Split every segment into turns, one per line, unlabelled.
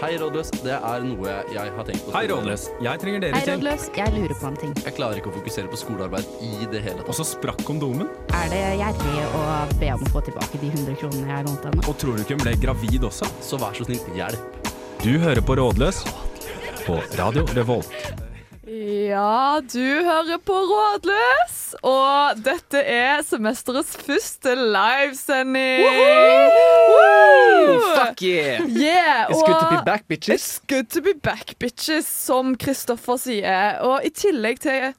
Hei, rådløs. Det er noe jeg har tenkt på.
Hei, Rådløs. Jeg trenger
Hei,
deres hjelp.
rådløs. Jeg lurer på en ting.
Jeg klarer ikke å fokusere på skolearbeid i det hele
Og
tatt.
så sprakk kondomen.
Er det gjerrig å be om å få tilbake de 100 kronene jeg lånte henne?
Og tror du ikke hun ble gravid også?
Så vær så snill, hjelp.
Du hører på Rådløs på Radio Revolt.
Ja, du hører på Rådløs, og dette er semesterets første livesending. Woo!
Fuck yeah!
Yeah,
It's good to be
og-
back, bitches.
It's good to be back, bitches, som Kristoffer sier. Og i tillegg til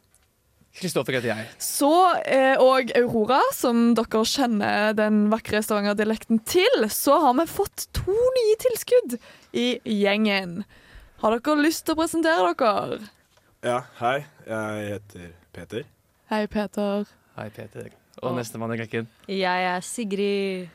Kristoffer heter jeg.
så eh, og Aurora, som dere kjenner den vakre Stavanger-dialekten til, så har vi fått to nye tilskudd i gjengen. Har dere lyst til å presentere dere?
Ja, hei. Jeg heter Peter.
Hei, Peter.
Hei, Peter. Og nestemann i rekken.
Jeg er Sigrid.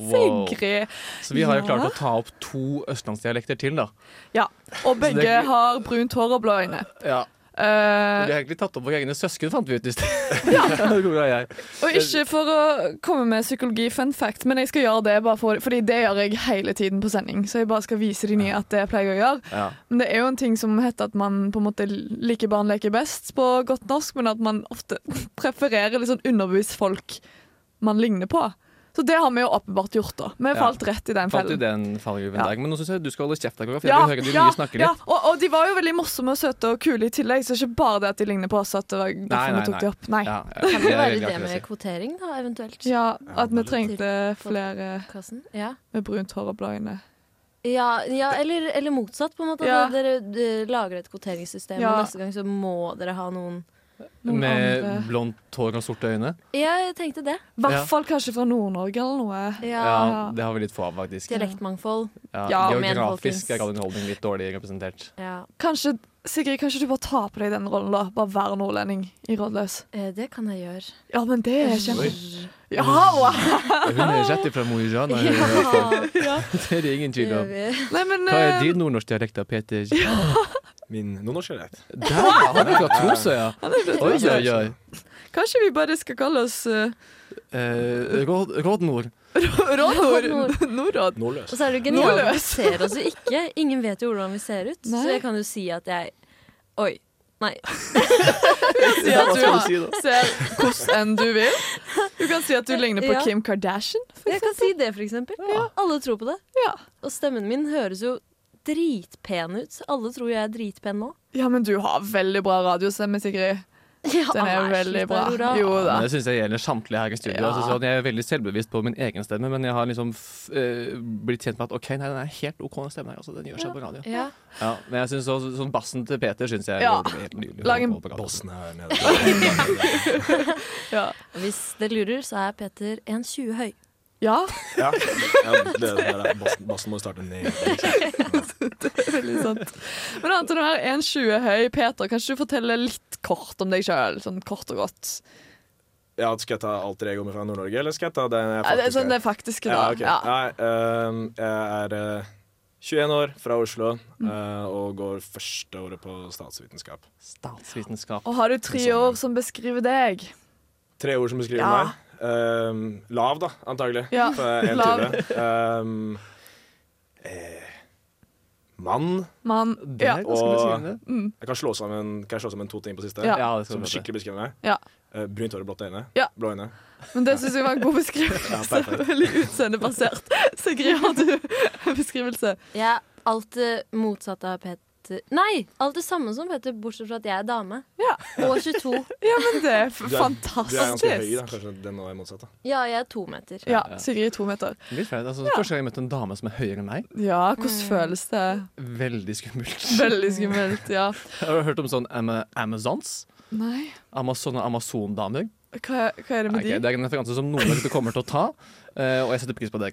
Wow.
Sigrid.
Så vi har jo
Ja.
klart å ta opp to østlandsdialekter til, da.
Ja, og begge
det er ikke-
har brunt hår og blå øyne.
Ja, Vi
Eh,
har egentlig tatt opp våre egne søsken, fant vi ut i sted. Aurora og jeg.
og ikke for å komme med psykologi-fun fact, men jeg skal gjøre det bare for, fordi det gjør jeg hele tiden på sending. Så jeg bare skal vise de nye at det pleier jeg å gjøre.
Ja.
Men det er jo en ting som heter at man på en måte liker barn leker best på godt norsk, men at man ofte prefererer litt sånn underbevisfolk man ligner på. Så det har vi jo åpenbart gjort, da. Vi
Ja.
falt rett i den
Fant du
fellen.
den fallgruven
Ja.
der? Men nå syns jeg du skal holde kjeft, Aurora, for jeg vil høre de nye snakke litt.
ja. Og, og de var jo veldig morsomme og søte og kule i tillegg, så ikke bare det at de ligner på oss. At det var derfor
nei,
vi tok de
nei.
opp. Nei. Ja.
Ja, ja,
Kan det
er
være
veldig
det
akkurat å
med
si.
kvotering, da, eventuelt?
at vi trengte flere
Kassen? Ja.
med brunt hår og blå øyne.
Ja, ja eller, eller motsatt, på en måte.
Ja.
At Dere eh, lager et kvoteringssystem,
Ja.
og neste gang så må dere ha noen
Noen
Med
andre.
blondt hår og sorte øyne?
Jeg tenkte det.
I hvert fall kanskje fra Nord-Norge eller noe.
Ja.
Ja, det har vi litt få av, faktisk.
Dialektmangfold.
Ja,
Ja,
men
geografisk
folkens.
er Gallen Holding litt dårlig representert.
Ja,
Kanskje, Sigrid, kanskje du bare tar på deg den rollen, da? Bare vær nordlending i Rådløs.
eh, det kan jeg gjøre.
Ja, men det er kjempe...
Rrr.
Ja, wow.
Hun er rett ifra Mo i Rana.
Ja,
Det er det ingen tvil
det gjør
om.
vi.
Nei, men
Hva er
eh,
din nordnorskdialekt da, Peter?
Min nordnorske dialekt.
Der, ja, han er fra Tromsø, ja. Oi, oi, oi.
kanskje vi bare skal kalle oss uh,
Eh, råd, rådnord.
Rådnord?
Rådnord.
Nordråd?
Nordløs.
Og så er det jo genialt at vi
Nordløs.
ser oss jo ikke. Ingen vet jo hvordan vi ser ut,
Nei.
så jeg kan jo si at jeg Oi. Nei.
Si at
Hva skal du
du
si da? Eh,
ser hvordan enn du vil. Du kan si at du ligner på
Ja.
Kim Kardashian.
Jeg kan si det, for eksempel. Alle tror på det.
Ja.
Og stemmen min høres jo dritpen ut. Alle tror jeg er dritpen nå.
Ja, men du har veldig bra radiostemme, Sigrid. Den er veldig bra. Jo da.
Det syns jeg gjelder samtlige her i studio.
Ja.
Altså, sånn, jeg er veldig selvbevisst på min egen stemme, men jeg har liksom f eh, blitt kjent med at OK, nei, den er helt OK den stemmen her. Altså, den gjør seg på radio.
Ja.
Ja, men jeg synes også, sånn bassen til Peter syns jeg
Ja.
går helt nydelig
Lag en
på radio.
Bossen her nede.
Ja.
Hvis dere lurer, så er Peter 1,20 høy.
ja.
Ja, ja det, det, er- bassen, bassen må starte ned.
Veldig sant. Men Anton, du er 1,20 høy. Peter, kan ikke du fortelle litt kort om deg sjøl? Sånn kort og godt.
Ja, skal jeg ta alter ego med fra Nord-Norge, eller skal jeg ta den jeg
Ja, det er
faktisk
sånn det faktiske, da.
Ja, ok.
Ja.
Nei, ehm, jeg er eh, 21 år, fra Oslo,
Mm.
eh, og går første året på statsvitenskap.
Statsvitenskap.
Og har du tre
sånn,
år som beskriver deg?
Tre ord som beskriver
Ja.
meg. Ehm, lav, da, antagelig.
Ja,
For jeg er
lav.
1,20. Ehm, eh, mann.
Mann
Det
ja.
er ganske
Og-
beskrivende.
Jeg kan slå sammen, kan jeg slå sammen to ting på siste.
Ja.
Ja, det skal
Som
du vite.
skikkelig beskriver meg.
Ja.
Eh, brunt hår og blått øyne.
Ja.
Blå øyne.
Men det syns jeg var en god
Ja,
beskrivelse.
perfekt.
Veldig utseendebasert. Sigrid, har du en beskrivelse?
Jeg er alt det motsatte av Peter Nei! Alt det samme som Peter, bortsett fra at jeg er dame.
Ja.
Og 22.
Ja, men det er f-
Du er- Du er ganske høy, da.
fantastisk.
Kanskje den nå er motsatt. da
Ja, jeg er to meter.
Ja, Sigrid er to meter.
Litt flaut. Altså, Første gang jeg møtte en dame som er høyere enn meg,
Ja, hvordan føles det?
veldig skummelt.
Veldig skummelt, ja.
Har du hørt om sånn ama- Amazons?
Nei,
Amazon og Amazon-damer?
hva, hva er det med
Ok,
de?
det er en referanse som noen av dere kommer til å ta, eh, og jeg setter pris på det.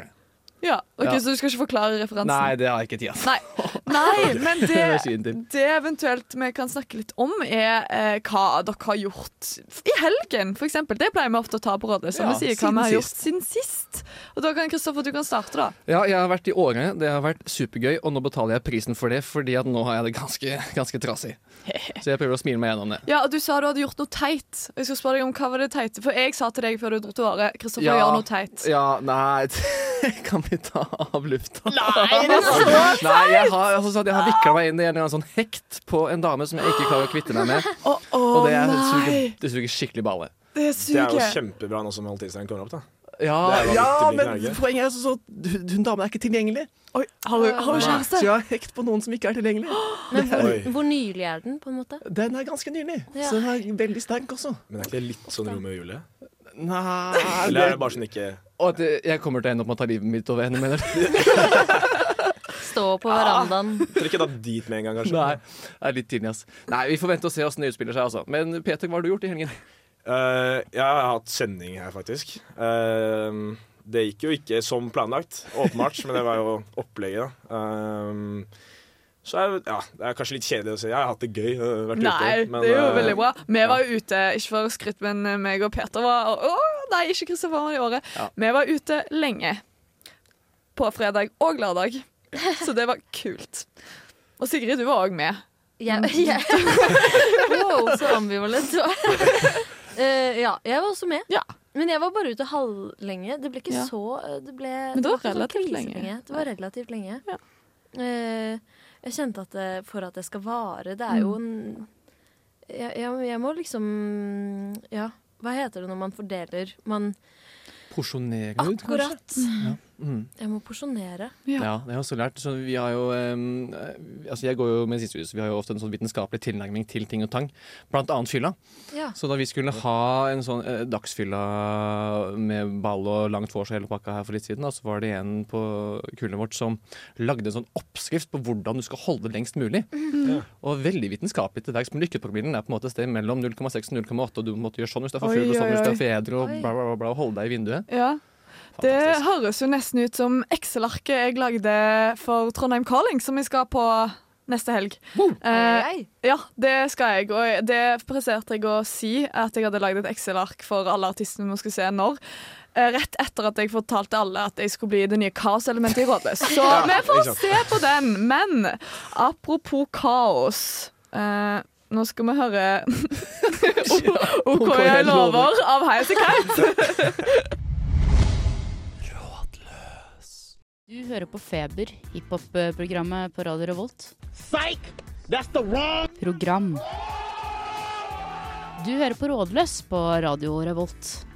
Ja, ok,
Ja.
Så du skal ikke forklare referansen?
Nei, det har jeg ikke tid til.
Nei. Nei, men
Det er
det,
skien til.
det eventuelt vi kan snakke litt om, er eh, hva dere har gjort i helgen, for eksempel. Det pleier vi ofte å ta på rådet, så
Ja,
vi sier hva
siden
vi har gjort siden sist. Og da kan Kristoffer, du kan starte, da.
Ja, jeg har vært i årene. Det har vært supergøy, og nå betaler jeg prisen for det, fordi at nå har jeg det ganske, ganske trasig. Så jeg prøver å smile meg gjennom det.
Ja, og Du sa du hadde gjort noe teit. Og Jeg skal spørre deg om hva var det teite For jeg sa til deg før du dro til Åre Kristoffer,
Ja.
gjør noe teit.
Ja, nei det Kan vi ta av lufta?
Nei, det er så
Nei, jeg har, altså, sånn at jeg har vikla meg inn i en eller annen sånn hekt på en dame som jeg ikke klarer å kvitte meg med.
Å, å,
Og det er-
nei!
suger, det suger skikkelig balle.
Det
Det er jo
suger.
kjempebra nå som Malteseren kommer opp, da.
Ja,
Det er jo
ja
litt
men
mye greie.
poenget er altså sånn at hun, hun damen er ikke tilgjengelig. Ah.
Oi, har du har du
Så
kjæreste?
jeg har hekt på noen som ikke er tilgjengelig.
Men hvor,
Oi.
hvor nylig er den, på en måte?
Den er ganske nylig,
Ja.
så den er veldig sterk også.
Men er ikke det litt sånn Romeo og Julie?
Nei
Eller er det bare sånn ikke
Og at jeg kommer til å ende opp med å ta livet mitt over henne, mener du?
Stå på verandaen.
Dere ikke da dit med en gang, kanskje?
Nei, det er litt tidlig, ass. Nei, vi får vente og se åssen det utspiller seg, altså. Men Peter, hva har du gjort i helgen?
Eh, jeg har hatt sending her, faktisk. Eh, det gikk jo ikke som planlagt, åpenbart, men det var jo opplegget. da. Eh, så er, det- ja, det er kanskje litt kjedelig å si. Jeg har hatt det gøy. jeg har Vært
Nei,
ute, men,
det er jo
eh,
veldig bra. Vi var jo ute, ikke for å skryte, men eh, meg og Peter var og, Å, nei, ikke Kristoffer var i året.
Ja.
Vi var ute lenge. På fredag og lørdag. Så det var kult. Og Sigrid, du var òg med. Mm.
Jeg, jeg, wow, så ambivalent du er. Eh, ja, jeg var også med.
Ja.
Men jeg var bare ute halvlenge. Det ble ikke
Ja.
så eh, Det ble
Men det var
ikke sånn
relativt lenge.
kriselenge. Det var relativt lenge.
Ja.
Eh, jeg kjente at det, for at det skal vare Det er jo
Mm.
en jeg, jeg, jeg må liksom Ja, hva heter det når man fordeler? Man
Porsjonerende ut, kanskje? Mm.
Akkurat. Jeg må porsjonere.
Ja.
Ja, det har jeg også lært. Så vi har jo, em, eh, altså jeg går jo med siste hus, vi har jo ofte en sånn vitenskapelig tilnærming til ting og tang. Blant annet fylla.
Ja.
Så da vi skulle ha en sånn eh, dagsfylla med ball og langt vors og hele pakka her for litt siden, da, så var det en på kullet vårt som lagde en sånn oppskrift på hvordan du skal holde det lengst mulig.
Mhm.
Og veldig vitenskapelig til verks, men lykkepromillen er på en måte et sted mellom 0,6 og 0,8, og du måtte gjøre sånn hvis du er for
Oi,
fugl, og sånn
oi,
hvis du
oi.
er for edru, og
Oi.
bla, bla, bla, bla, og holde deg i vinduet.
Ja. Det
Fantastisk.
høres jo nesten ut som Excel-arket jeg lagde for Trondheim Calling, som jeg skal på neste helg. Eh,
Ai, ai.
ja, det skal jeg. Og det presterte jeg å si, at jeg hadde lagd et Excel-ark for alle artistene vi skulle se når. Eh, Rett etter at jeg fortalte alle at jeg skulle bli det nye kaoselementet i Rådet. Så vi får
liksom.
se på den. Men apropos kaos eh, Nå skal vi høre O- OK, jeg lover av Heis i Kite.
Du hører på Feber, hiphop-programmet på Radio Revolt. Program. Du hører på Rådløs på Radio Revolt.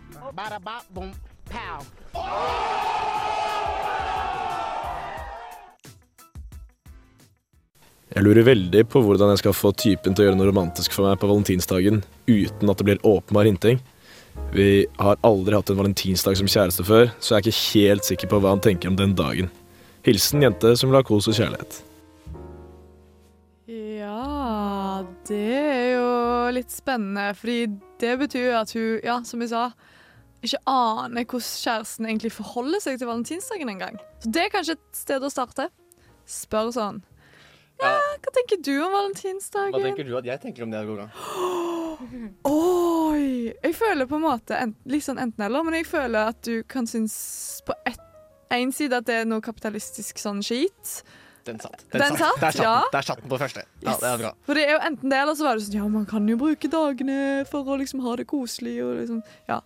Jeg lurer veldig på hvordan jeg skal få typen til å gjøre noe romantisk for meg på valentinsdagen uten at det blir åpenbar hinting. Vi har aldri hatt en valentinsdag som kjæreste før, så jeg er ikke helt sikker på hva han tenker om den dagen. Hilsen jente som vil ha kos og kjærlighet.
Ja, det er jo litt spennende, fordi det betyr jo at hun, ja, som jeg sa, ikke aner hvordan kjæresten egentlig forholder seg til valentinsdagen engang. Så det er kanskje et sted å starte. Spør sånn. Ja,
Ja.
hva tenker du om
Hva
valentinsdagen?
tenker du at jeg tenker om det? Aurora?
Oi! Jeg føler på en måte ent, litt sånn enten-eller, men jeg føler at du kan synes på én side at det er noe kapitalistisk sånn skit.
Den satt.
Den satt,
Der satt den.
ja.
Der satt den på første. Ja,
Yes.
det er bra.
For det er jo enten det, eller så var det sånn Ja, man kan jo bruke dagene for å liksom ha det koselig og liksom Ja.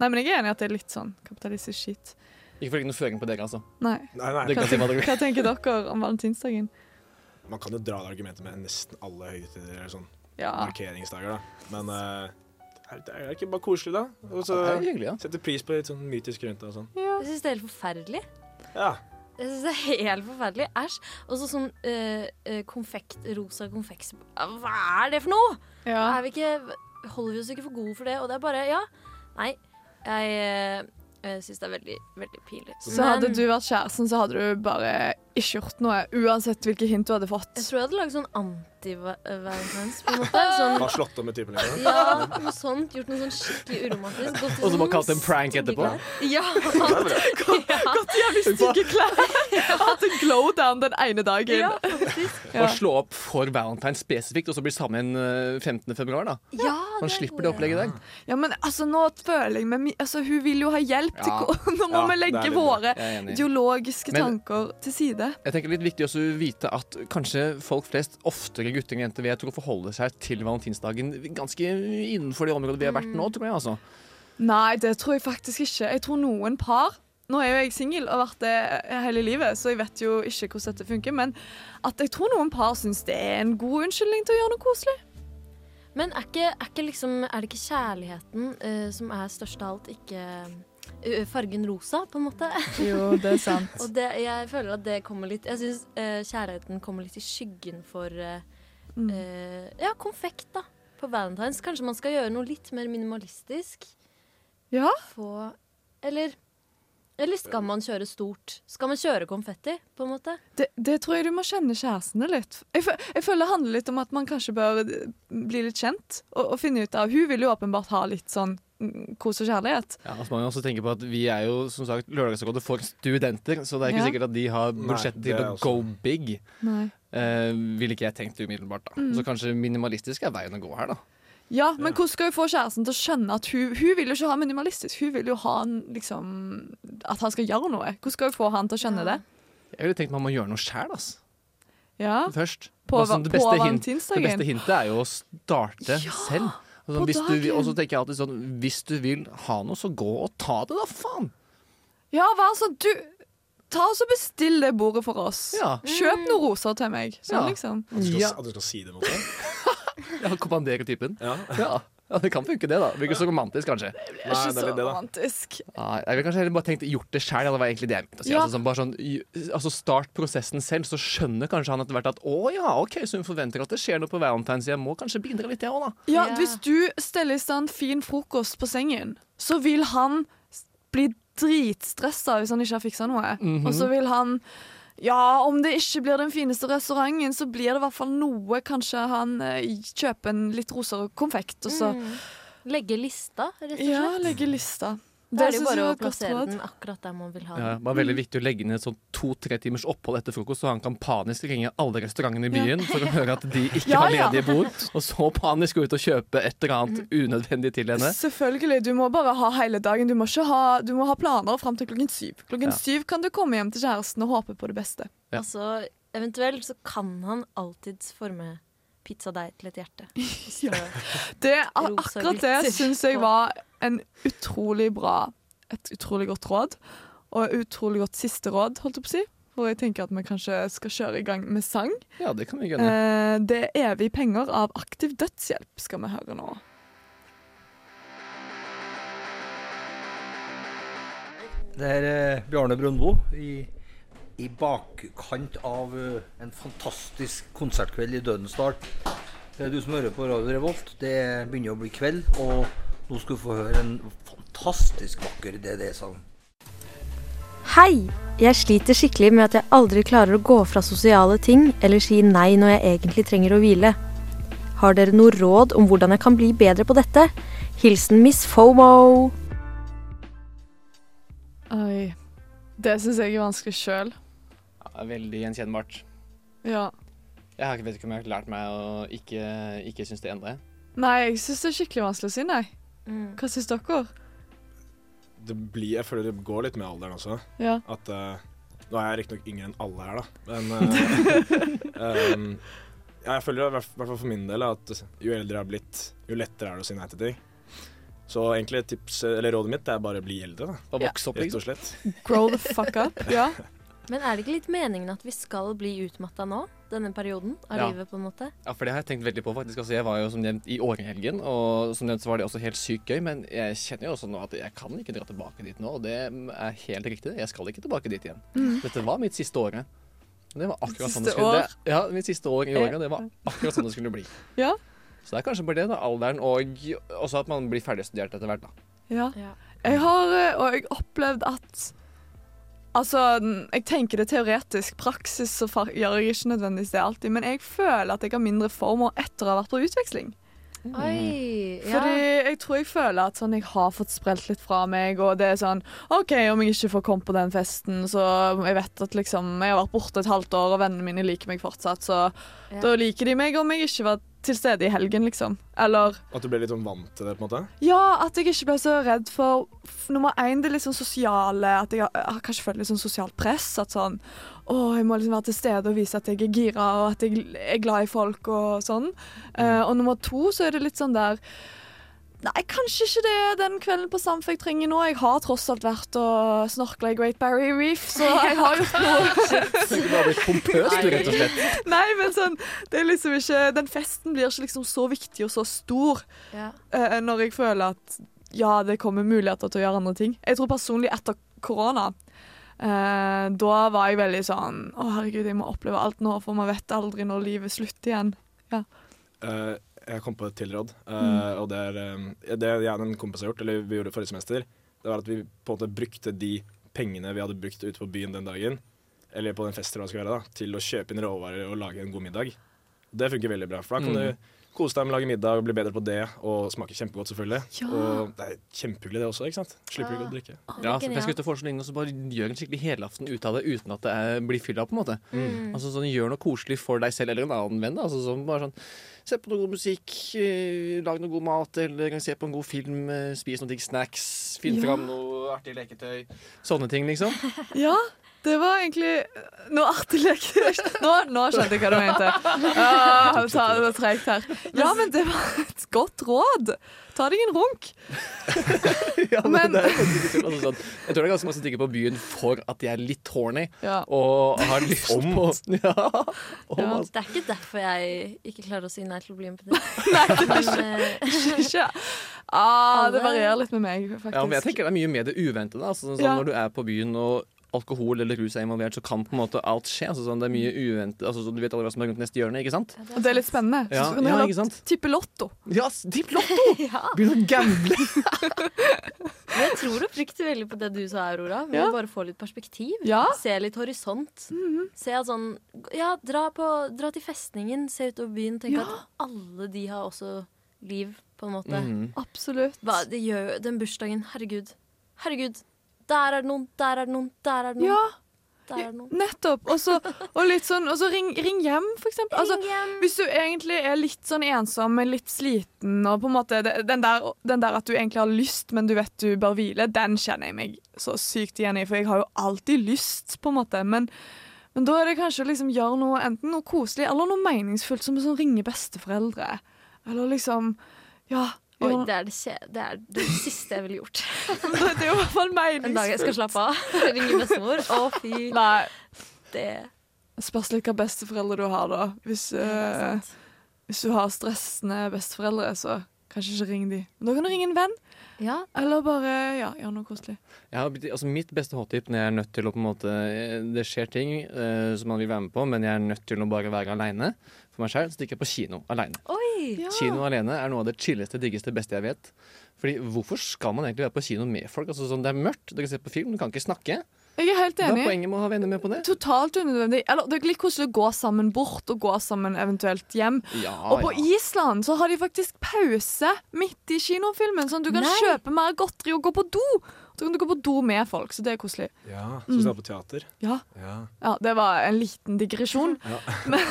Nei, men jeg er enig i at det er litt sånn kapitalistisk skitt.
Ikke for å legge noen føring på dere, altså.
Nei.
Nei,
Det
Hva
kan si hva dere
tenker, hva tenker dere om valentinsdagen?
Man kan jo dra det argumentet med nesten alle høytider eller sånn
Ja.
markeringsdager, da. Men eh, er det ikke bare koselig, da? Og
Det er jo hyggelig, ja.
sette pris på litt sånn mytisk rundt det og sånn.
ja.
Jeg syns det er helt forferdelig.
Ja.
Jeg synes det er helt forferdelig. Æsj. Og så sånn eh, eh, konfekt, rosa konfekt Hva er det for noe?!
ja.
Er vi ikke, holder vi oss ikke for gode for det? Og det er bare Ja. Nei. Jeg, eh, Jeg syns det er veldig, veldig pinlig.
Så
Men
hadde du vært kjæresten, så hadde du bare ikke gjort noe. Uansett hvilke hint du hadde
Jeg
fått.
tror jeg hadde lagd sånn anti-valentines, på en måte. Sånn,
Bare slått av med typen liksom. din.
ja, noe sånt. Gjort noe sånn skikkelig uromantisk. gått i
Og så bare
sånn
kalt det en prank
stygge
etterpå?
klær. Ja.
Jævlig stygge klær! Hatt en glow down den ene dagen.
ja, faktisk.
Ja.
Og slå opp for Valentine spesifikt, og så blir sammen eh, 15. februar, da.
Ja, det
Man
er
slipper det
god idé.
opplegget der.
Ja, men altså, nå føler jeg meg mi- altså, Hun vil jo ha hjelp til
Ja.
ko- Nå må
Ja,
vi
det
legge
er litt-
våre
Jeg er enig.
ideologiske
Men-
tanker til side.
Jeg tenker litt viktig også å vite at kanskje folk flest, oftere gutter enn jenter, vil jeg tro forholder seg til valentinsdagen ganske innenfor det området vi har vært nå,
Mm.
tror jeg. altså.
Nei, det tror jeg faktisk ikke. Jeg tror noen par Nå er jo jeg singel og har vært det eh, hele livet, så jeg vet jo ikke hvordan dette funker, men at jeg tror noen par syns det er en god unnskyldning til å gjøre noe koselig.
Men er, ikke, er, ikke liksom, er det ikke kjærligheten eh, som er størst av alt, ikke eh, fargen rosa, på en måte?
Jo, det er sant.
Og det, jeg føler at det kommer litt Jeg syns kjærligheten kommer litt i skyggen for eh,
Mm.
eh, Ja, konfekt, da. På Valentine's. Kanskje man skal gjøre noe litt mer minimalistisk.
Ja.
Få Eller eller skal man kjøre stort? Skal man kjøre konfetti, på en måte?
Det, det tror jeg du må kjenne kjærestene litt. Jeg, fø- jeg føler det handler litt om at man kanskje bør eh, bli litt kjent og, og finne ut av Hun vil jo åpenbart ha litt sånn mm, kos og kjærlighet.
Ja, altså man må også tenke på at Vi er jo som sagt Lørdagsrådet for studenter, så det er ikke
Ja.
sikkert at de har budsjett
det
til
er
å
også-
go big.
Nei.
Eh, ville ikke jeg tenkt umiddelbart. da.
Mm.
Så kanskje minimalistisk er veien å gå her, da.
Ja, men hvordan skal hun få kjæresten til å skjønne at hun, hun vil jo ikke ha minimalistisk? Hun vil jo ha en, liksom, at han skal gjøre noe. Hvordan skal hun få han til å skjønne
Ja.
det?
Jeg ville tenkt man må gjøre noe sjæl, ass.
Ja,
Først.
På,
Men
på
sånn, hint- det beste
valentinsdagen.
hintet er jo å starte selv. Og
på
Sånn, hvis du, vil-
dagen.
og så tenker jeg alltid sånn Hvis du vil ha noe, så gå og ta det, da, faen!
Ja, vær så du Ta og så Bestill det bordet for oss.
Ja.
Kjøp noen roser til meg. Sånn,
Ja.
liksom.
At du skal,
Ja.
at du skal si det mot deg.
Ja, Kommandere typen.
Ja.
Ja. ja, det kan funke, det, da. Virker så romantisk, kanskje.
Det er
Nei,
ikke
det er
så
litt det, da.
romantisk.
Nei, jeg ville kanskje heller bare tenkt gjort det sjæl. Det var egentlig det jeg mente å si.
Ja.
Altså, sånn, bare sånn, y- altså Start prosessen selv, så skjønner kanskje han etter hvert at å ja, OK, så hun forventer at det skjer noe på Valentine's, jeg må kanskje bidra litt, jeg òg, da.
Ja,
Ja.
Hvis du steller i stand fin frokost på sengen, så vil han s- bli dritstressa hvis han ikke har fiksa noe.
Mhm.
Og så vil han Ja, om det ikke blir den fineste restauranten, så blir det i hvert fall noe. Kanskje han eh, kjøper en litt roser og konfekt, og så
Mm. Legge lista, rett og slett.
Altså- Ja, legge lista.
da er det
synes jeg
jo bare
var
å
et godt
plassere
råd.
den akkurat der man vil ha
Ja,
den.
det var veldig viktig å legge ned sånn to-tre timers opphold etter frokost, så han kan panisk ringe alle restaurantene i byen for å høre at de ikke
Ja,
har
ja. Mm.
ledige bord, og så panisk gå ut og kjøpe et eller annet unødvendig til henne.
Selvfølgelig. Du må bare ha hele dagen. Du må, ikke ha, du må ha planer fram til klokken syv. Klokken
Ja.
syv kan du komme hjem til kjæresten og håpe på det beste.
Ja.
Altså, eventuelt så kan han alltids forme pizzadeig til et hjerte. Og strø.
Det, a-
Rosa
akkurat
glitter.
det syns jeg var en utrolig bra Et utrolig godt råd. Og et utrolig godt siste råd, holdt jeg på å si. For jeg tenker at vi kanskje skal kjøre i gang med sang.
Ja, det kan vi gønne.
Eh, det er Evig penger av Aktiv dødshjelp skal vi høre nå.
Det er eh, Bjarne Brøndbo i, i bakkant av eh, en fantastisk konsertkveld i Dødensdal. Det er du som hører på Radio Revolt. Det begynner å bli kveld, og nå skal du få høre en fantastisk vakker DD-sang.
Hei! Jeg sliter skikkelig med at jeg aldri klarer å gå fra sosiale ting eller si nei når jeg egentlig trenger å hvile. Har dere noe råd om hvordan jeg kan bli bedre på dette? Hilsen Miss FOMO.
Oi. Det syns jeg er vanskelig sjøl.
Ja, veldig gjenkjennbart.
Ja.
Jeg har ikke- vet ikke om jeg har lært meg å ikke, ikke synes det ennå.
Nei, jeg syns det er skikkelig vanskelig å si nei.
Mm.
Hva syns dere?
Det blir, jeg føler det går litt med alderen også.
Ja.
At eh, Nå er jeg riktignok yngre enn alle her, da, men eh, em, ja, Jeg føler i hvert hvert fall for min del at jo eldre jeg har blitt, jo lettere er det å si nei til ting. Så egentlig tips, eller rådet mitt er bare bli eldre, da,
Å vokse opp,
rett
liksom.
og slett.
Grow the fuck up. Ja.
Men er det ikke litt meningen at vi skal bli utmatta nå? Denne perioden av
Ja.
livet, på en måte?
Ja, for det har jeg tenkt veldig på, faktisk. Altså, jeg var jo som nevnt i årehelgen, og som nevnt så var det også helt sykt gøy, men jeg kjenner jo også nå at jeg kan ikke dra tilbake dit nå, og det er helt riktig. Jeg skal ikke tilbake dit igjen. Dette var mitt siste året. Det var akkurat sånn
Mm. siste
det skulle det, Ja, mitt siste år i året. Det var akkurat sånn det skulle bli.
Ja.
Så det er kanskje bare det, da. Alderen og også at man blir ferdigstudert etter hvert, da.
ja. Jeg har eh, og jeg opplevd at Altså, n- jeg tenker det teoretisk. Praksis så fa- gjør jeg ikke nødvendigvis det alltid. Men jeg føler at jeg har mindre former etter å ha vært på utveksling.
Oi, ja.
Mm. Fordi jeg tror jeg føler at sånn, jeg har fått sprelt litt fra meg, og det er sånn OK, om jeg ikke får komme på den festen, så jeg vet at liksom Jeg har vært borte et halvt år, og vennene mine liker meg fortsatt, så
Ja.
da liker de meg om jeg ikke var til stede i helgen, liksom. Eller
At du ble litt sånn vant til det, på en måte?
ja, at jeg ikke ble så redd for f- Nummer én, det er liksom sosiale At jeg har, jeg har kanskje følt litt sånn sosialt press. At sånn Å, jeg må liksom være til stede og vise at jeg er gira, og at jeg er glad i folk og sånn. Eh, og nummer to, så er det litt sånn der Nei, kanskje ikke det er den kvelden på Samf jeg trenger nå. Jeg har tross alt vært og snorkla i Great Barrier Reef, så jeg har gjort noe.
Du har blitt pompøs, du, rett og slett.
Nei, men sånn Det er liksom ikke Den festen blir ikke liksom så viktig og så stor.
Ja.
eh, når jeg føler at ja, det kommer muligheter til å gjøre andre ting. Jeg tror personlig etter korona, eh, da var jeg veldig sånn Å, herregud, jeg må oppleve alt nå, for man vet aldri når livet slutter igjen.
Eh, jeg kom på et tilråd. eh, Og det er eh, det jeg og en kompis har gjort, eller vi gjorde det forrige semester, det var at vi på en måte brukte de pengene vi hadde brukt ute på byen den dagen, eller på den festen, eller hva det skal være, da, til å kjøpe inn råvarer og lage en god middag. Det funker veldig bra, for da kan du kose deg med å lage middag og bli bedre på det, og smake kjempegodt, selvfølgelig. Og det er kjempehyggelig, det også, ikke sant? Slipper ikke å drikke.
Ja,
Ja, så Kanskje gutta får sånn lignende, og så bare gjør en skikkelig helaften ut av det uten at det er, blir fylla, på en måte. Altså sånn, Gjør noe koselig for deg selv eller en annen venn. da. Altså, sånn, bare sånn, Se på noe god musikk, eh, lag noe god mat, eller kan se på en god film, eh, spis noe digg snacks, finn
Ja.
fram noe artig leketøy. Sånne ting, liksom.
Ja, det var egentlig Nå artig leker nå, nå skjønte jeg hva du mente. Ah, ta, det var tregt her. Ja, men det var et godt råd. Ta deg en runk.
Ja, men,
Men-
det er faktisk ikke tull, altså, sånn. Jeg tror det er ganske mange som stikker på byen for at de er litt horny
Ja.
og har lyst på ja, og,
Ja.
Det er ikke derfor jeg ikke klarer å si nei til å bli med på det.
Nei, det er
Men, eh,
ikke ah, Det
Alle-
varierer litt med meg, faktisk.
ja, men jeg tenker det er mye mer det uventede. Altså, sånn, sånn,
Ja.
Når du er på byen og alkohol eller rus er involvert, så kan på en måte alt skje. Altså, sånn, det er mye uventet altså, sånn, Du vet aldri hva som er rundt neste hjørne, ikke sant?
Og det er litt spennende.
Ja,
så kan du
ja,
heller
ikke sant?
tippe lotto.
Ja, s- tipp lotto! Begynn å gamble!
men jeg tror oppriktig veldig på det du sa, Aurora. Vi
Ja.
må bare få litt perspektiv.
Ja. Mhm.
Se litt horisont. Se at sånn Ja, dra, på, dra til festningen, se utover byen, tenk
Ja.
at alle de har også liv, på en måte.
Mhm.
Absolutt.
Hva, det gjør jo Den bursdagen, herregud. Herregud. Der er det noen, der er det noen, der er det noen.
Ja,
Der er det noen.
nettopp. Og så og litt sånn, og så ring, ring hjem, for eksempel. Altså,
Ring hjem.
hvis du egentlig er litt sånn ensom, men litt sliten, og på en måte det- den der, den der at du egentlig har lyst, men du vet du bør hvile, den kjenner jeg meg så sykt igjen i, for jeg har jo alltid lyst, på en måte. Men, men da er det kanskje å liksom gjøre noe, enten noe koselig eller noe meningsfullt, som å sånn ringe besteforeldre. Eller liksom Ja.
Oi,
gjøre-
det er det, kje- det er det siste jeg ville gjort.
det, er jo i hvert fall
En dag jeg
meningsfullt.
skal slappe av. Ringe bestemor. Å, fy.
Nei.
Det
Spørs litt hva besteforeldre du har, da. Hvis
er
eh,
sant.
Hvis du har stressende besteforeldre, så kanskje ikke ring de. Men da kan du ringe en venn,
Ja,
eller bare ja, gjøre noe koselig.
Jeg har, blitt- altså, mitt beste hot tip når jeg er nødt til å på en måte Det skjer ting eh, som man vil være med på, men jeg er nødt til å bare være aleine for meg sjøl. Så stikker jeg på kino aleine.
oi.
Ja.
Kino alene er noe av det chilleste, diggeste, beste jeg vet. Fordi Hvorfor skal man egentlig være på kino med folk? Altså sånn, Det er mørkt, du kan se på film, du kan ikke snakke.
Jeg er helt
Hva er
enig.
poenget med å ha venner med på det?
Totalt unødvendig. Eller det er litt koselig å gå sammen bort, og gå sammen eventuelt hjem.
Ja,
Og på
ja.
Island så har de faktisk pause midt i kinofilmen, sånn at du kan
Nei.
kjøpe mer godteri og gå på do. Så kan du gå på do med folk, så det er koselig.
Ja, så vi snakker på teater.
Ja,
Ja.
ja det var en liten digresjon.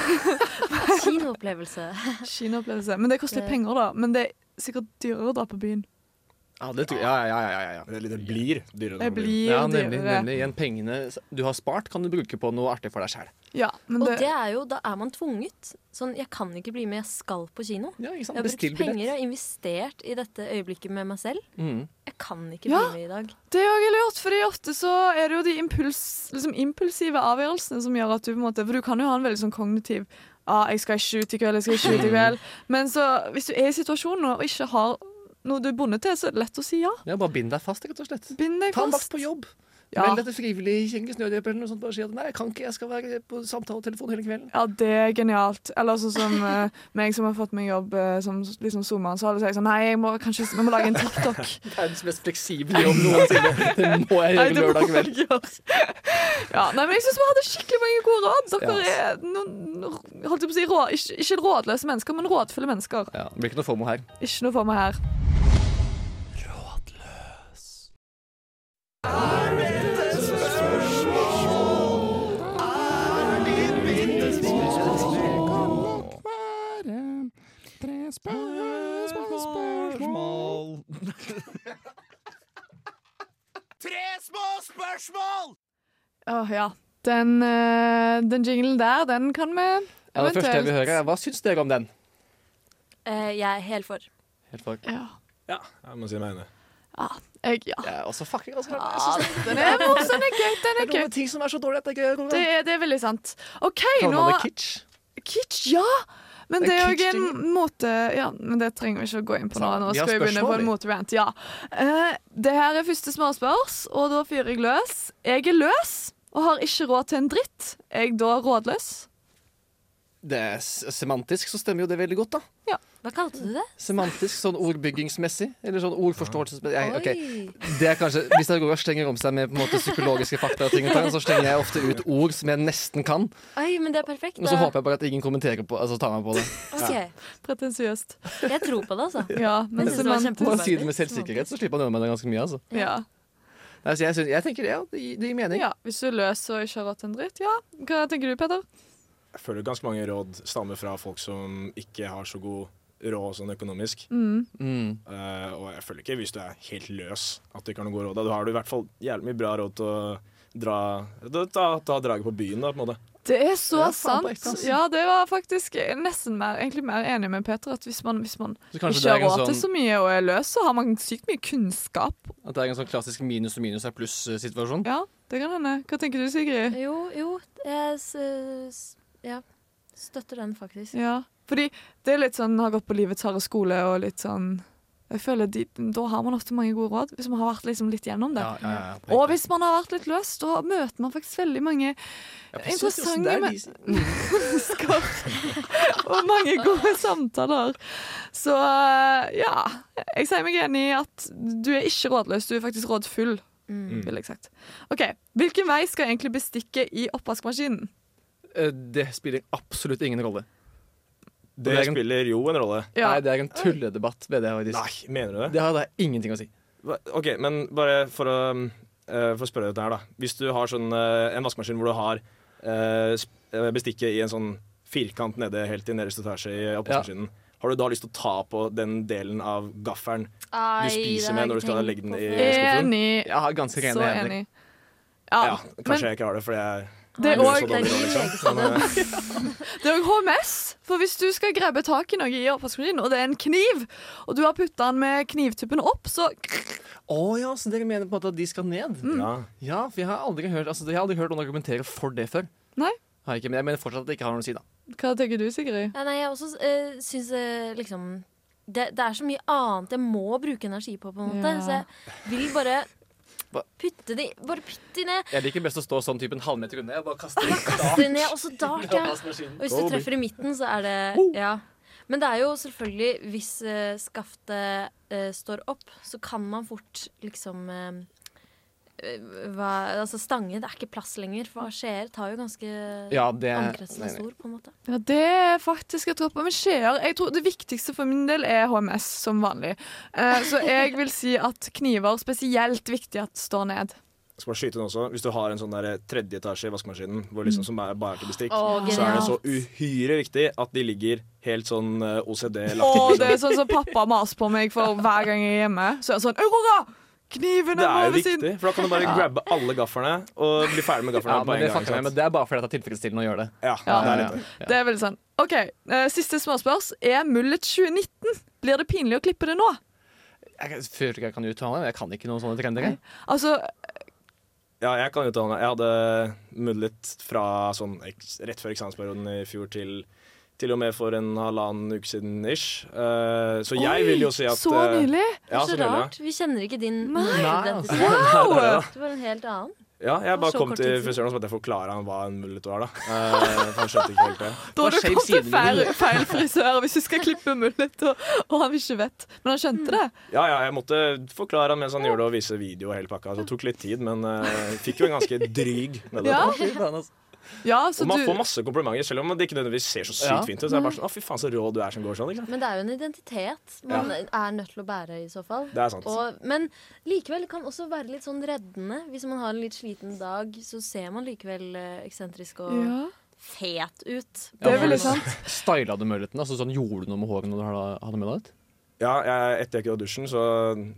Kinoopplevelse.
Kinoopplevelse. Men det koster litt
Det-
penger, da. Men det er sikkert dyrere å dra på byen.
ja, det tror jeg. Ja, ja, ja, ja, ja.
Det, det blir
Det
dyrere. når
blir
ja
jo
nemlig,
dyrere.
nemlig. Igjen, pengene du har spart, kan du bruke på noe artig for deg sjæl.
Ja, men
Og
det,
det er jo, da er man tvunget. Sånn, jeg kan ikke bli med, jeg skal på kino.
Ja, ikke
Jeg
sant? Sånn,
har brukt
Bestill
penger og
billett.
har investert i dette øyeblikket med meg selv.
Mm.
Jeg kan ikke
Ja.
bli med i dag.
Det er jo lurt, fordi ofte så er det jo de impuls, liksom impulsive avgjørelsene som gjør at du på en måte For du kan jo ha en veldig sånn kognitiv ah, 'Jeg skal ikke ut i kveld, jeg skal ikke ut i kveld.' Men så, hvis du er i situasjonen og ikke har noe du er bundet til, så er det lett å si ja.
Ja, bare bind deg fast, rett og slett.
Bind deg
Ta en vakt
fast.
på jobb.
Ja.
Meld deg til frivillig Kirkens Nødhjelp eller noe sånt. Bare si at nei, jeg kan ikke, jeg skal være på samtaletelefon hele kvelden.
Ja, det er genialt. Eller sånn som eh, meg som har fått meg jobb eh, som liksom SoMe-ansvarlig, så er jeg sånn Nei, jeg må kanskje vi må lage en TikTok.
Verdens mest fleksible jobb noensinne. Det må jeg
Nei,
gjøre
det må
lørdag kveld.
jeg gjøre. Ja, nei, men jeg syns vi hadde skikkelig mange gode råd. Dere er
altså.
noen, holdt jeg på å si, rå, ikke, ikke rådløse mennesker, men rådfulle mennesker.
Ja, det blir ikke noe FOMO her.
Ikke noe for meg her. Åh, ja. Den, eh, den jinglen der, den kan vi
Ja, det første jeg vil høre, er hva syns dere om den?
Eh, jeg er helt for.
Helt fuck.
Ja.
Jeg må si meg enig.
Jeg, ja.
Jeg er også fucking altså. Jeg
Ah,
synes
den er morsom, den er gøy, den
det
er
er
gøy.
noen ting som er så dårlig at det er gøy.
Det, er- det er veldig sant. OK,
Kaller
nå
man det kitsch?
Kitsch, ja! Men
Det
det
er
er jo
kitsch,
en måte Ja, men det trenger vi ikke å gå inn på nå.
Så,
Nå
vi har
skal vi begynne på en
spørsmål, vi.
moterant. Ja. Eh, det her er første småspørs, og da fyrer jeg løs. Jeg er løs og har ikke råd til en dritt. Er jeg da rådløs?
Det er s- semantisk så stemmer jo det veldig godt, da.
Hva kalte du det?
Semantisk, sånn ordbyggingsmessig. Eller sånn ordforståelsesmessig. Jeg, ok,
Oi.
det er kanskje, Hvis Aurora slenger om seg med på en måte psykologiske fakta, og ting og tang, så slenger jeg ofte ut ord som jeg nesten kan.
Oi, men det er perfekt.
Og så håper jeg bare at ingen kommenterer på altså tar meg på det.
Ok,
Pretensiøst.
Jeg tror på det, altså.
Ja, men
Jeg synes det var
semantisk.
Og si det med selvsikkerhet, så slipper han unna med det ganske mye. altså.
Ja.
Nei, så jeg, synes, jeg tenker det, ja, det, gir- det gir mening.
ja. Hvis du er løs og ikke har råd til en dritt, ja. Hva tenker du, Peter?
Jeg føler ganske mange råd stammer fra folk som ikke har så god råd sånn økonomisk.
Mm.
Mm.
Eh, og jeg føler ikke hvis du er helt løs at du ikke har noe god råd. Da har du i hvert fall jævlig mye bra råd til å dra, da- ta, ta draget på byen, da, på en måte.
Det er så
Det er faen på ekte,
sant.
altså.
Ja, det var faktisk jeg er nesten mer, egentlig mer enig med Peter. At hvis man, hvis man
Så kanskje
ikke
det
har
er en
råd til
sånn
så mye og er løs, så har man sykt mye kunnskap.
At det er en sånn klassisk minus og minus er pluss-situasjon?
Ja, det kan hende. Hva tenker du, Sigrid?
Jo, jo. Jeg s s ja. støtter den, faktisk.
Ja, fordi det er litt sånn har gått på livets harde skole og litt sånn Jeg føler de, Da har man ofte mange gode råd, hvis man har vært liksom litt gjennom det.
Ja, ja, ja, ja.
Og hvis man har vært litt løs, da møter man faktisk veldig mange
Ja, for jeg synes
interessante
jo det er
men-
de-
mennesker. og mange gode samtaler. Så eh, ja. Jeg sier meg enig i at du er ikke rådløs, du er faktisk rådfull.
Mm.
Vil jeg sagt. OK. Hvilken vei skal egentlig bestikket i oppvaskmaskinen?
Eh, Det spiller absolutt ingen rolle.
Det,
Det er en-
spiller jo en rolle.
Ja.
Nei, det er en tulledebatt. Ved det, faktisk.
Nei, mener du det?
det har da ingenting å si.
Hva- OK, men bare for å, um, eh, for å spørre dette her, da. Hvis du har sånn, eh, en vaskemaskin hvor du har eh, sp- eh, bestikket i en sånn firkant nede helt i nederste etasje i oppvaskmaskinen, har du da lyst til å ta på den delen av gaffelen du spiser med når du skal legge den i skuffen?
Enig.
Jeg har ganske rene
Så
hender.
enig.
Ja,
Ja,
kanskje
men
jeg ikke har det, fordi jeg
det er
gjør
òg
så dårlig råd, liksom. Men, eh,
Det er jo HMS, for hvis du skal grabbe tak i noe i oppvaskmaskinen, og det er en kniv, og du har putta den med knivtuppen opp, så
Å ja, så dere mener på en måte at de skal ned?
ja.
Ja, for jeg har aldri hørt, altså, jeg har aldri hørt noen argumentere for det før.
Nei.
Har jeg ikke, men jeg mener fortsatt at det ikke har noe å si, da.
Hva tenker du, Sigrid?
Ja, nei, jeg også uh, syns eh, liksom det, det er så mye annet jeg må bruke energi på, på en måte.
Ja.
Så jeg vil bare
Hva-
putte de Bare putte de ned.
Jeg liker best å stå sånn type en halvmeter unna. Jeg bare kaster
Kaste de ned, og så dart, ja. Og
ja.
hvis du treffer i midten, så er det Ja. Men det er jo selvfølgelig Hvis eh, skaftet eh, står opp, så kan man fort liksom eh, eh, hva, Altså stange. Det er ikke plass lenger, for skjeer tar jo ganske
ja, det
Omkretsen
nei,
er
nei.
stor, på en måte.
Ja, Det er faktisk et råd på med skjeer. Jeg tror Det viktigste for min del er HMS, som vanlig. Eh, så jeg vil si at kniver spesielt viktig at står ned.
Jeg skal bare skyte inn også. Hvis du har en sånn der tredje etasje i vaskemaskinen hvor liksom som er bare er til bestikk,
Å,
så er det
genialt.
så uhyre viktig at de ligger helt sånn eh,
Å,
OCD-lagt.
det er sånn som pappa maser på meg for hver gang jeg er hjemme. Så er han sånn Aurora! Kniven er
Det er jo
over siden!
viktig, for da kan du bare grabbe alle gaflene og bli ferdig
Ja,
med gaflene på
men det
en
fucker
gang.
meg,
ikke
men
sant?
det er bare fordi det er tilfredsstillende å gjøre det.
Ja,
Ja.
det er litt det.
Ja.
Det er veldig sånn. OK, eh, siste småspørs. Er mullet 2019? Blir det pinlig å klippe det nå?
Jeg kan- føler ikke jeg kan uttale meg, men jeg kan ikke noen sånne trender. jeg.
Altså,
Ja, jeg kan uttale meg. Jeg hadde mudlet fra sånn eks- rett før eksamensperioden i fjor til til og med for en halvannen uke siden ish. Eh, så
Oi,
jeg vil jo si at
Så
eh,
nylig?
Det
Ja,
er så
selvfølgelig.
rart. Vi kjenner ikke din
Nei.
identitet.
Nei, altså. det er det.
Du var en helt annen.
Ja, jeg bare
Så
kom
kort tid
til
siden.
frisøren og spurte forklare han hva en mullet var, da. Eh, for han skjønte ikke helt det.
Da har
Det
du
var skjev
kommet til
side
feil,
med
feil frisør hvis du skal klippe mullet, og, og han ikke vet. Men han
Mm.
skjønte det.
Ja, ja, jeg måtte forklare han mens han gjorde det og vise video og hele pakka. Så det tok litt tid, men eh, fikk jo en ganske dryg med det.
Ja,
Fy faen, altså.
ja så
Og man får
du Mm.
masse komplimenter, selv om det ikke nødvendigvis ser så sykt
Ja.
fint ut. Så jeg er bare sånn, å fy faen så rå du er som går sånn, ikke sant?
Men det er jo en identitet man er nødt til å bære i så fall.
Det er sant.
Og, men likevel kan også være litt sånn reddende. Hvis man har en litt sliten dag, så ser man likevel eh, eksentrisk og
ja.
fet ut.
Det er
for
veldig
du
sant.
Styla du muligheten? Altså, sånn, gjorde du noe med håret når du hadde- hadde med deg ut?
Ja, jeg, etter jeg gikk ut av dusjen, så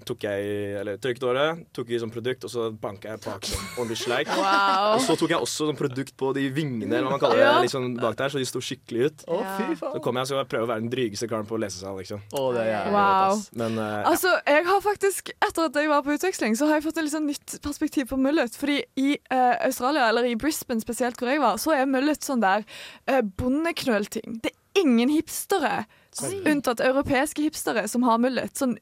tok jeg i- Eller tørket håret, tok i sånn produkt, og så banka jeg bak sånn ordentlig sleik.
Wow.
Og så tok jeg også sånn produkt på de vingene, eller hva man kaller det,
Ja.
liksom bak der, så de sto skikkelig ut.
Å, fy
Så
faen.
kom jeg og skulle prøve å være den drygeste karen på lesesalen, liksom.
Å, det er jævlig
Wow.
godt, ass.
Men eh,
Altså, jeg har faktisk, Etter at jeg var på utveksling, så har jeg fått et litt sånn nytt perspektiv på mullet. Fordi i eh, Australia, eller i Brisbane spesielt, hvor jeg var, så er mullet sånn der eh, bondeknølting. Det er ingen hipstere, unntatt europeiske hipstere, som har mullet. Sånn,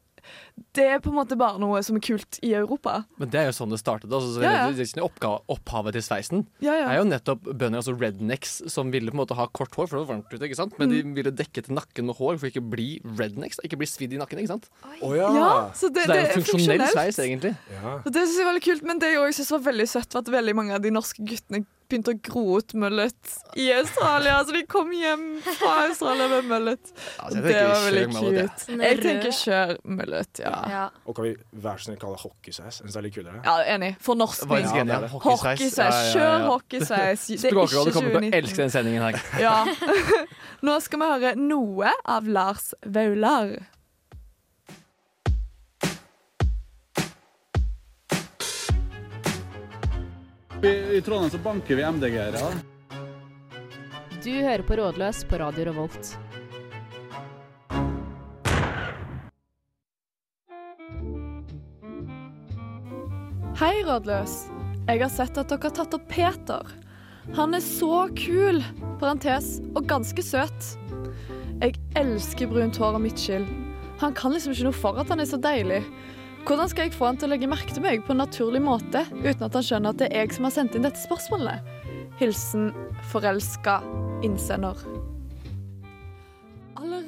det er på en måte bare noe som er kult i Europa.
Men det er jo sånn det startet. Altså, så
Ja, ja.
det- det er ikke oppga- Opphavet til sveisen
Ja,
er
ja.
jo nettopp bønder, altså rednecks, som ville på en måte ha kort hår, for det var varmt ute, ikke sant? men
Mm.
de ville dekke til nakken med hår for ikke å bli rednecks, ikke bli svidd i nakken. ikke sant?
å ja.
ja så det,
Så det er jo funksjonell
funksjonelt.
sveis, egentlig.
ja.
Og det synes jeg var veldig kult, men det jeg også synes var veldig søtt, var at veldig mange av de norske guttene begynte å gro ut mullet i Australia. Så de kom hjem fra Australia med mullet.
Altså,
Og
jeg
det
tenker
var veldig
kjør med det.
cute.
Sånn
Jeg
rød.
tenker kjør mullet, ja.
Ja.
Og kan vi være så snill kalle det hockeysveis? Jeg synes det er litt kulere.
Ja, enig.
Var
Fornorskning.
ikke enig, ja. Hockeysveis. Ja,
Hockeysveis.
ja, ja,
Kjør
ja.
hockeysveis. Det er ikke
Språkrådet kommer til å
2019.
elske den sendingen her.
Ja. Nå skal vi høre noe av Lars Vaular.
I Trondheim så banker vi MDG-ere.
Du hører på Rådløs på Radio Revolt.
Hei, Rådløs. Jeg har sett at dere har tatt opp Peter. Han er så kul, parentes, og ganske søt. Jeg elsker brunt hår og midtskill. Han kan liksom ikke noe for at han er så deilig. Hvordan skal jeg få han til å legge merke til meg på en naturlig måte, uten at han skjønner at det er jeg som har sendt inn dette spørsmålet? Hilsen forelska innsender. Aller,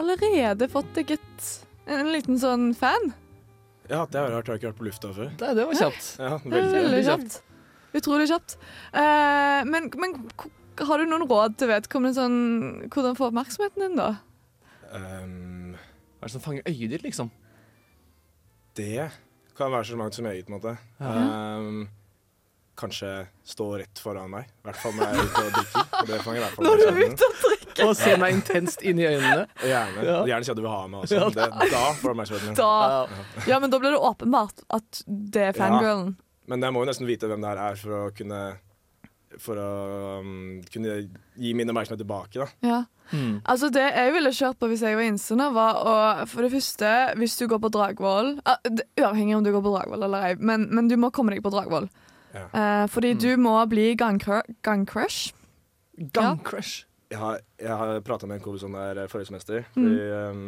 allerede fått deg et en liten sånn fan?
Ja, det er rart. Jeg har ikke vært på lufta før.
Det, det var kjapt.
Ja,
Veldig,
veldig.
kjapt. Utrolig kjapt. Eh, men men k- har du noen råd til vedkommende sånn, hvordan få oppmerksomheten din, da?
Ehm,
Hva er det som fanger øyet ditt, liksom?
det kan være så mangt som øyet, på en måte. Ehm, kanskje stå rett foran meg. I hvert fall når jeg er ute og drikker. Det fanger i hvert fall
Når du er
oppmerksomheten.
ute og drikker,
Å se meg intenst inn i øynene.
Gjerne.
Ja.
Gjerne si at du vil ha meg også. Det, da får du oppmerksomheten min.
da!
Ja.
Ja, men da blir det åpenbart at det er fangirlen.
Men jeg må jo nesten vite hvem det her er for å kunne For å um, kunne gi min oppmerksomhet tilbake, da.
Ja.
Mm.
Altså Det jeg ville kjørt på hvis jeg var innsender, var å For det første, hvis du går på Dragvoll ah, det- Uavhengig om du går på Dragvoll eller ei, men, men du må komme deg på Dragvoll.
Ja.
Eh, fordi du må bli gangcru- gangcrush.
Gangcrush.
Jeg har, jeg har prata med en kompis om det her eh, forrige semester.
Mm.
Fordi, um,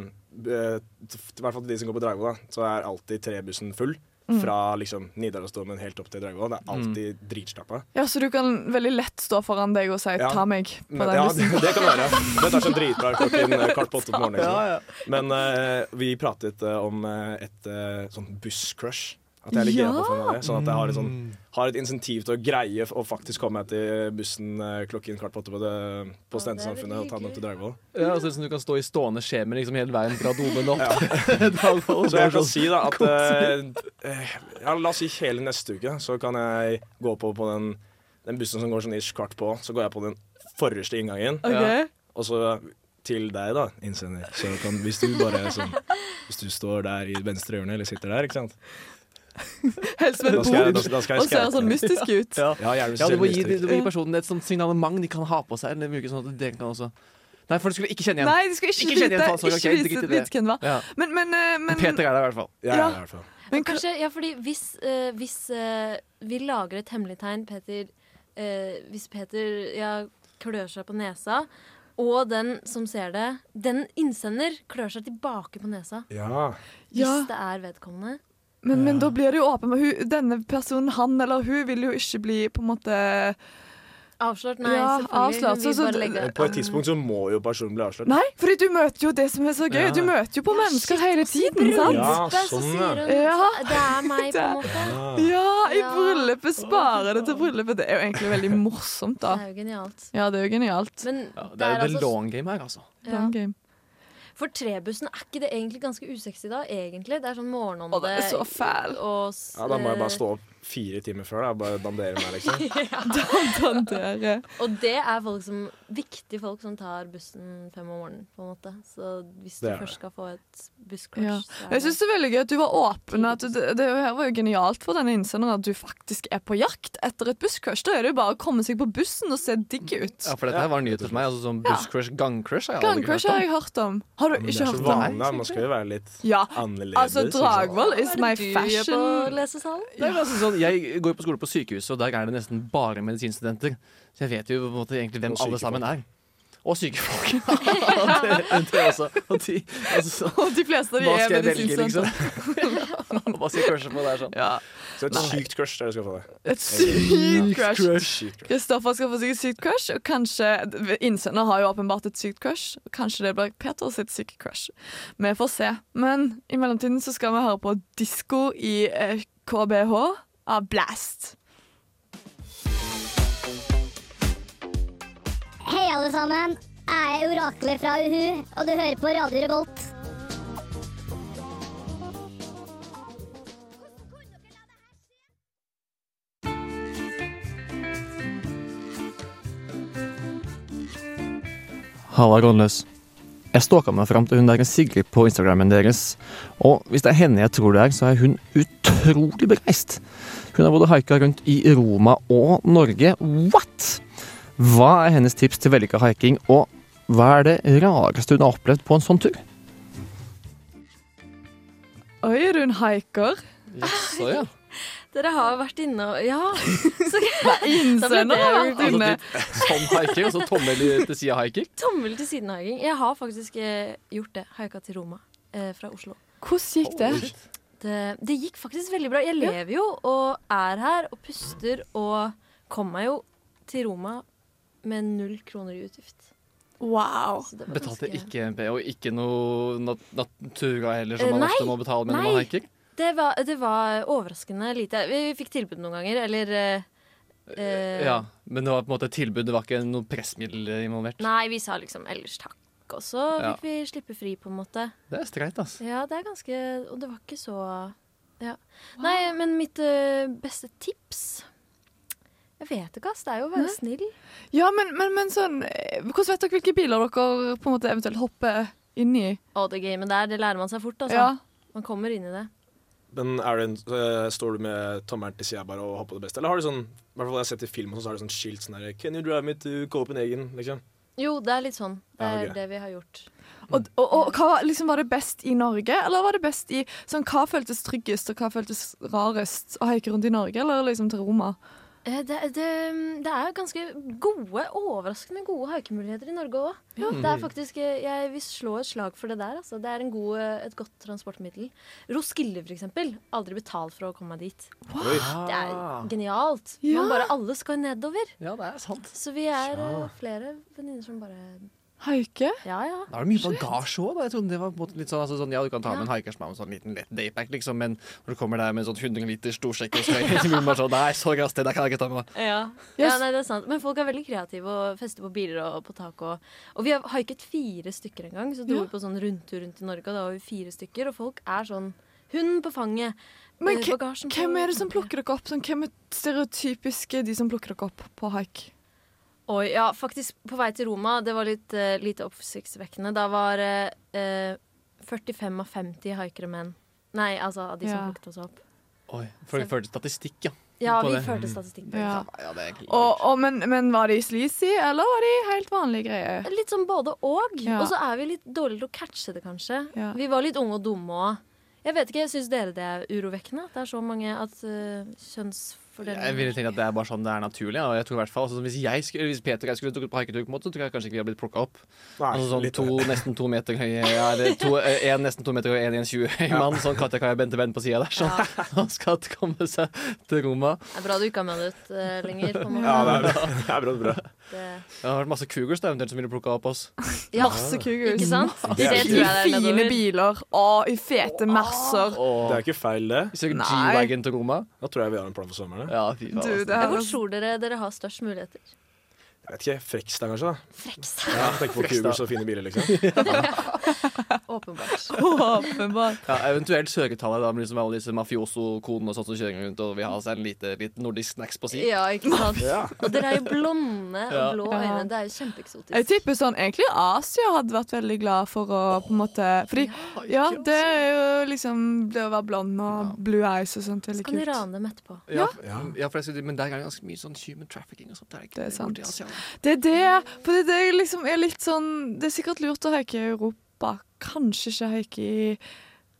eh, t- I hvert fall til de som går på Dragvoll, da, så er alltid trebussen full.
Mm.
Fra liksom Nidarosdomen helt opp til Dragvoll. Det er alltid dritstappa.
Ja, Så du kan veldig lett stå foran deg og si
Ja.
'ta meg' på
Men,
den
ja,
bussen.
det, det kan være. Det tar seg dritbra klokken eh, kvart på åtte på morgenen. Liksom. Men eh, vi pratet eh, om eh, et eh, sånn busscrush. At jeg er litt
Ja!
gira på å få meg det. Sånn at jeg har et, sånn, har et insentiv til å greie f- å faktisk komme meg til bussen eh, klokken kvart på åtte på, det- på Stentesamfunnet og ta den opp til Dragvoll.
Ja, altså, liksom, du kan stå i stående skjemer liksom, hele veien fra domen opp.
Ja. Så jeg
sånn
kan si da at eh, eh, ja, La oss si hele neste uke, så kan jeg gå på, på den, den bussen som går sånn ish kvart på. Så går jeg på den forreste inngangen,
Ok.
og så til deg, da, innsender. Så kan, hvis du bare er sånn Hvis du står der i venstre hjørne, eller sitter der, ikke sant
Helst med
Da skal jeg,
bord
da, da skal jeg
og ser
skaute.
sånn mystisk ut.
Ja.
Ja, gjerne hvis
Ja,
du
du må
ser
gi,
mystisk.
du må gi personen et sånt signalement de kan ha på seg. Eller bruke sånn at den kan også Nei, for du skulle ikke kjenne igjen.
Nei, de skal ikke,
Ikke kjenn igjen
vite,
faen, sorry,
ikke
ok,
vise
drit i det.
vite hvem det var.
Ja.
Men, men, eh, men,
Peter er der i hvert fall.
Ja,
Ja.
i hvert fall.
men k-
Kanskje, ja, fordi hvis, eh, hvis eh, vi lager et hemmelig tegn Peter, eh, Hvis Peter ja, klør seg på nesa Og den som ser det, den innsender klør seg tilbake på nesa
Ja.
Ja,
hvis det er vedkommende.
men, men da blir det jo åpen. men Hun, denne personen, han eller hun, vil jo ikke bli på en måte
Avslørt? Nei,
Ja,
selvfølgelig.
avslørt,
men
så-
vi
så-
bare legger
På et tidspunkt så må jo personen bli avslørt.
Nei, fordi du møter jo det som er så gøy. Du møter jo på mennesker hele tiden, sant?
Ja,
Oppe, så
sånn,
sier hun,
Ja.
Det er meg, på en måte.
Ja, i
Ja.
bryllupet. Spare det til bryllupet. Det er jo egentlig veldig morsomt,
Det
da.
er jo genialt.
Ja, det er jo genialt.
Men
Ja, det
det
er jo
er
the
altså
long game her, altså.
ja.
Long game.
For trebussen, er ikke det egentlig ganske usexy da? Egentlig? Det er sånn morgenånde
Å, den er så fæl.
og s-
Ja, da må jeg bare
eh,
stå opp fire timer før da, og bare dandere meg, liksom.
Dandere.
Og det er folk som, viktige folk som tar bussen fem om morgenen, på en måte. Så hvis du
Det er det.
først skal få et busscrush,
Ja.
så er
Jeg syns det er veldig gøy at du var åpen. At du, det, det her var jo genialt for denne innsenderen at du faktisk er på jakt etter et busscrush. Da er det jo bare å komme seg på bussen og se digg ut.
Ja, for dette her var nyheter for meg. Altså sånn busscrush, gangcrush har jeg aldri
Gangcrush
hørt
har
om.
jeg hørt om. Har du
Men det
ikke
er så
hørt om?
vanlig.
vanlig, da. man skal jo være litt
Ja.
annerledes.
Altså,
ikke sant?
Dragvoll is my
Hva er det du gjør på
fashion.
lesesalen?
Nei, men altså, sånn, jeg går jo på skole på sykehuset, og der er det nesten bare medisinstudenter. Så jeg vet jo på en måte egentlig hvem
Og
alle
syke
sammen er. Og syke folk. det, det også. Og de, altså, så,
Og de fleste av de
hva
er
skal jeg velge, liksom?
medisinstudenter.
hva skal jeg crushe på der? sånn?
sånn. Ja.
Så et sykt crush er det du skal få deg.
Et sykt
Sykt
crush.
crush.
Kristoffer skal få seg et sykt crush, og kanskje Innsender har jo åpenbart et sykt crush. og Kanskje det blir Peter sitt syke crush. Vi får se. Men i mellomtiden så skal vi høre på disko i eh, KBH av Blast.
Hei, alle sammen. Jeg er oraklet fra Uhu, og du hører på Radio Revolt.
Halla, Rånløs. Jeg stalka meg fram til hun der Sigrid på Instagrammen deres. Og hvis det er henne jeg tror det er, så er hun utrolig bereist. Hun har både haika rundt i Roma og Norge. What?! Hva er hennes tips til vellykka haiking, og hva er det rareste hun har opplevd på en sånn tur?
Oi, er du en haiker?
Jaså, ja.
Dere har vært inne og Ja! Så
Innsender har vært
Altså,
inne.
sånn haiker, og så tommel til sida haiker?
tommel til sidenhaging. Jeg har faktisk eh, gjort det. Haika til Roma eh, fra Oslo.
Hvordan gikk det?
Det, det gikk faktisk veldig bra. Jeg lever jo og er her og puster og kom meg jo til Roma med null kroner i utgift.
Wow.
Så det var
Betalte
ganske-
ikke MP, og ikke noe nat Natura heller,
Eh,
som man
nei,
ofte må betale med når
nei.
man haiker?
Det var, det var overraskende lite. Vi fikk tilbud noen ganger, eller eh, eh,
Ja, men det var på en måte et tilbud, det var ikke noe pressmiddel involvert.
Nei, vi sa liksom ellers takk. Og så
Ja.
fikk vi slippe fri, på en måte.
Det er streit, altså.
Ja, det er ganske Og det var ikke så ja. Nei, men mitt ø, beste tips Jeg vet ikke, ass. Det er jo å være snill.
Ja, men, men, men sånn eh, Hvordan vet dere hvilke biler dere på en måte eventuelt hopper inn i?
Og det gamet der, det lærer man seg fort, altså.
Ja.
Man kommer inn i det.
Men er det en, eh, står du med tommelen til sida bare og håper på det beste? Eller har du sånn, i hvert fall jeg har sett i film, og så har du sånn skilt sånn her Can you drive me to Copenhagen? Liksom.
Jo, det er litt sånn. Det
Ja,
er
ok.
det vi har gjort.
Og, og, og hva var- liksom, var det best i Norge, eller var det best i sånn, Hva føltes tryggest, og hva føltes rarest? Å haike rundt i Norge, eller liksom til Roma?
Eh, Det, det, det er ganske gode, overraskende gode haikemuligheter i Norge òg. Det er faktisk, eh, Jeg vil slå et slag for det der. Altså. Det er en god, eh, et godt transportmiddel. Roskilde, for eksempel. Aldri betalt for å komme meg dit. Det er genialt.
Ja.
Man bare, alle skal nedover.
Ja, det er sant.
Så vi er eh, flere venninner som bare
Haike?
Ja, ja.
Da er det mye bagasje òg, da. Jeg trodde det var på en måte litt sånn, altså, sånn Ja, du kan ta med en hikers med en sånn liten lett daypack, liksom, men når du kommer der med en sånn 100 liter storsjekk og skal så blir man bare sånn Nei, så raskt, det der kan jeg ikke ta med meg.
Ja.
Yes.
nei, det er sant. Men folk er veldig kreative og fester på biler og på tak. Og, og vi har haiket fire stykker en gang, så dro
Ja.
vi på sånn rundtur rundt i Norge. Og da var vi fire stykker, og folk er sånn Hund på fanget.
Men
eh,
hva-
bagasjen på-
hvem er det som plukker dere opp? Sånn, hvem er stereotypiske de som plukker dere opp på haik?
Oi, ja, faktisk på vei til Roma, det var litt eh, lite oppsiktsvekkende. Da var eh, eh, 45 av 50 haikere menn. Nei, altså av de som
Ja.
plukket oss opp.
Oi, for jeg følte statistikk, ja.
Ja,
På
vi
det.
førte statistikk på det.
Ja.
Ja, det er egentlig
Og, og, men, men var de sleazy, eller var de helt vanlige greier?
Litt sånn både og.
Ja.
Og så er vi litt dårligere til å catche det, kanskje.
Ja.
Vi var litt unge og dumme òg. Jeg vet ikke, Syns dere det er urovekkende? At det er så mange at uh, kjønns...
for den
Jeg ville tenke at det er bare sånn det er naturlig. Og jeg tror i hvert fall, altså, hvis, jeg skulle, hvis Peter og jeg skulle dratt på haiketur, på en måte, så tror jeg kanskje ikke vi hadde blitt plukka opp.
Nei,
altså, sånn
litt-
to, nesten to meter høye ja, eller to, eh, en nesten to meter og en i en 20 høy mann. Sånn Katja Kaja Bente Venn på sida der, som som skal komme seg til rommet.
Det er bra du ikke har med deg ut eh, lenger. På en måte. eh,
Ja, det er bra. Det er bra, det er bra.
Det-
Det har vært masse cougars da, eventuelt som ville plukka opp oss.
Ja. Masse cougars. Ikke sant? Det tror jeg det er
I fine
nedover.
biler og i fete masser.
Det
er ikke feil, det.
Hvis jeg
Nei. G-wagon
til Roma
Da tror jeg vi har en plan for sommeren.
Ja, fy
faen, Du, altså. det er-
Hvor tror dere dere har størst muligheter?
Jeg vet ikke. Frekstad, kanskje? da?
Frekstad.
Ja, Tenk på
Frekstad.
Kubers og fine biler, liksom.
Åpenbart.
Åpenbart.
Ja, eventuelt Sør-Italia, da, med liksom alle disse mafioso-konene og sånt som kjører rundt og vil ha seg en lite, liten nordisk snacks på si.
Ja, ikke sant?
Ja.
Og dere er jo blonde
Ja.
og blå øyne. Det er jo kjempeeksotisk.
Jeg tipper sånn egentlig Asia hadde vært veldig glad for å på en måte Fordi ja, det er jo liksom det å være blond og blue eyes og sånt veldig
Kan de
kult.
rane dem etterpå?
Ja, ja, for jeg skulle- men der er det ganske mye sånn human trafficking og sånt. Det er, ikke
Det er sant.
borti Asia.
Det er det, for det, er det jeg liksom er litt sånn Det er sikkert lurt å haike i Europa, kanskje ikke haike i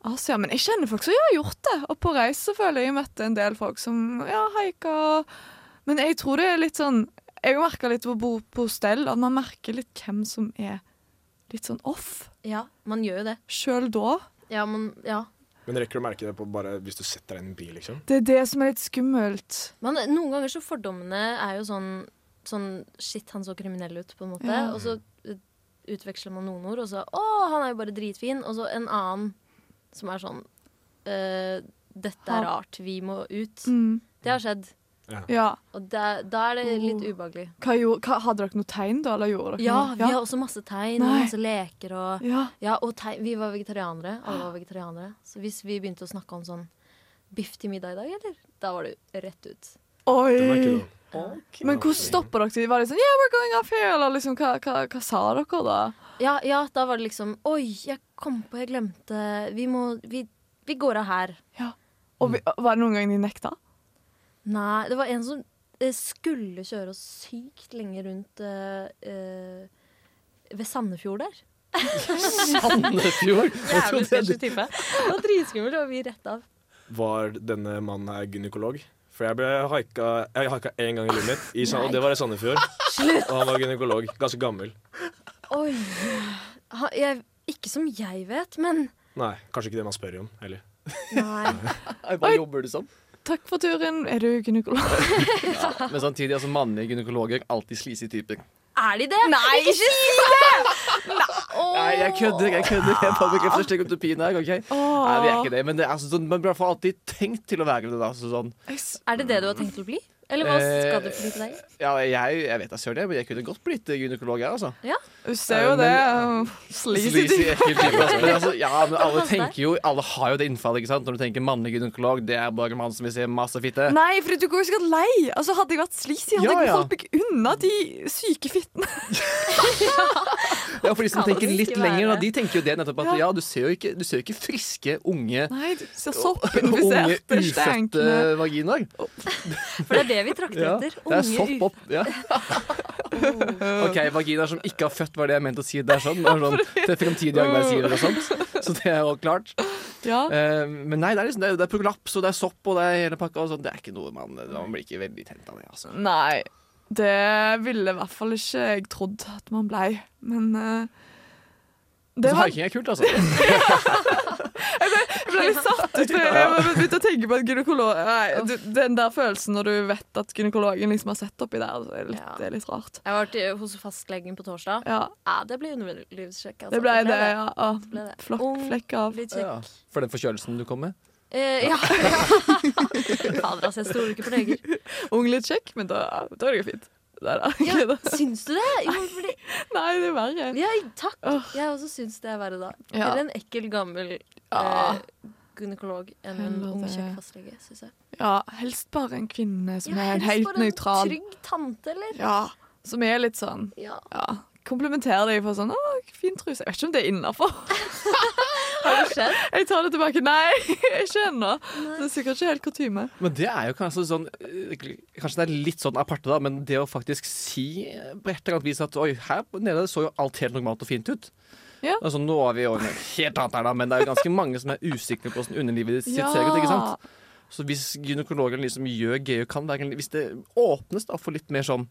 Asia, men jeg kjenner folk som ja, har gjort det. Og på reis så føler jeg jeg møtte en del folk som ja, haika Men jeg tror det er litt sånn Jeg har merka litt på å bo på hostell at man merker litt hvem som er litt sånn off.
Ja, man gjør jo det.
Sjøl da.
Ja, men ja.
Men rekker du å merke det på bare hvis du setter deg inn i en bil, liksom?
Det er det som er litt skummelt.
Men noen ganger så fordommene er jo sånn, sånn Shit, han så kriminell ut, på en måte.
Ja.
Og så eh, utveksler man noen ord, og så Å, han er jo bare dritfin. Og så en annen som er sånn eh, Dette er
Ha-
rart. Vi må ut.
Mm.
Det har skjedd.
Ja.
Ja.
Og det, da er det litt ubehagelig.
Hva gjorde, hva, hadde dere noe tegn da, eller gjorde dere
Ja,
noe?
vi har også masse tegn og
Nei.
masse leker. Og,
Ja.
og tegn. Vi var vegetarianere. Alle var vegetarianere. Så hvis vi begynte å snakke om sånn biff til middag i dag, eller? Da var det rett ut.
Oi! Mm. Men hvordan stoppa dere? Var det sånn Yeah, we're going off here! Eller liksom, hva, hva, hva sa dere da?
Ja, ja, da var det liksom Oi, jeg kom på, jeg glemte Vi må Vi, vi går av her.
Og
Mm.
vi, var det noen gang de nekta?
Nei, det var en som eh, skulle kjøre oss sykt lenge rundt eh, eh, ved Sandefjord der.
Sandefjord?
Jævlig spesiell type. Det var dritskummelt, og vi rett av.
Var denne mannen her gynekolog? For jeg ble haika Jeg haika én gang i livet mitt, i Sand, og det var i Sandefjord.
Slutt.
Og han var gynekolog. Ganske gammel.
Oi. Ha, jeg, ikke som jeg vet, men
Nei, kanskje ikke det man spør om heller.
Nei.
Hva jobber du som?
Takk for turen. Er du gynekolog?
Men samtidig, altså mannlige gynekologer alltid sleazy typer.
Er de det?
Nei,
ikke si det!
Nei, jeg kødder, jeg kødder. Jeg bare bekrefter stereotypien her. ok? Nei, vi er ikke det, men det er altså sånn, man blir i hvert fall alltid tenkt til å være det. da, altså sånn.
Er det det du har tenkt å bli? Eller hva skal du bli til deg?
Ja, jeg, jeg vet jeg søren det, men jeg kunne godt blitt gynekolog, jeg, altså.
Ja.
Du ser jo det. um, Sleazy.
Sleazy, ekkel
type.
type. altså. Men altså, ja, men alle
Pass deg.
tenker jo Alle har jo det innfallet, ikke sant? Når du tenker mannlig gynekolog, det er bare en mann som vil se masse fitte.
Nei, for du går jo sikkert lei. Altså, hadde jeg vært sleazy, hadde
Ja,
jeg
ja.
holdt meg unna de syke fittene.
Ja, for de som
Kan
tenker
det
litt
ikke
lenger, da,
være.
de tenker jo det nettopp at
Ja.
ja, du ser jo ikke, du ser jo ikke friske, unge
Nei, du ser
Unge,
soppinfisert.
ufødte vaginaer.
For det er det vi trakter
Ja,
etter.
det er
Unge
sopp opp. Ja. OK, vaginaer som ikke har født, var det jeg mente å si. Det er sånn, det er sånn til fremtidige arbeidsgivere og sånt. Så det er jo klart.
Ja.
Eh, men nei, det er, liksom, det er, det er prolaps, og det er sopp, og det er hele pakka. Og sånt. det er ikke noe man, man blir ikke veldig tent av det, altså.
Nei, det ville i hvert fall ikke jeg trodd at man blei. Men eh, det
Så
var,
haiking er kult, altså.
jeg ble litt satt ut, for jeg var begynt å tenke på at gynekolog nei, du, Den der følelsen når du vet at gynekologen liksom har sett oppi der, det er litt, det er litt rart.
Jeg var til, hos fastlegen på torsdag.
Ja.
det ble underlivssjekk. altså.
Det ble det, ja. ja.
ble det.
Flokk, flekk av.
Litt kjekk.
For den forkjølelsen du kom med.
Eh, ja. Fader, altså, jeg stoler ikke på leger.
Ung litt kjekk, men da, da er det jo fint. Der, da.
Ja, syns du det? Jo, fordi
Nei, det er verre.
Ja, takk. Jeg også syns det er verre, da.
Ja.
Eller en ekkel, gammel
Ja.
eh, gynekolog enn en
Heller
ung,
det.
kjekk fastlege, syns jeg.
Ja, helst bare en kvinne som
Ja,
er en
helst
helt
bare en
nøytral.
Trygg tante, eller?
Ja, som er litt sånn
Ja.
Komplementere deg for sånn 'Å, fin truse'. Jeg vet ikke om det er innafor.
Har det skjedd?
Jeg tar det tilbake. Nei, ikke ennå. Det er sikkert ikke helt kutyme.
Men det er jo kanskje sånn eh, Kanskje det er litt sånn aparte, da, men det å faktisk si eh, på et eller annet vis at oi, her nede så jo alt helt normalt og fint ut.
Ja.
Altså, nå er vi over noe helt annet her, da, men det er jo ganske mange som er usikre på hvordan underlivet sitt ser ut. ikke sant? Så hvis gynekologen liksom gjør GU kan, det er egentlig- hvis det åpnes da for litt mer sånn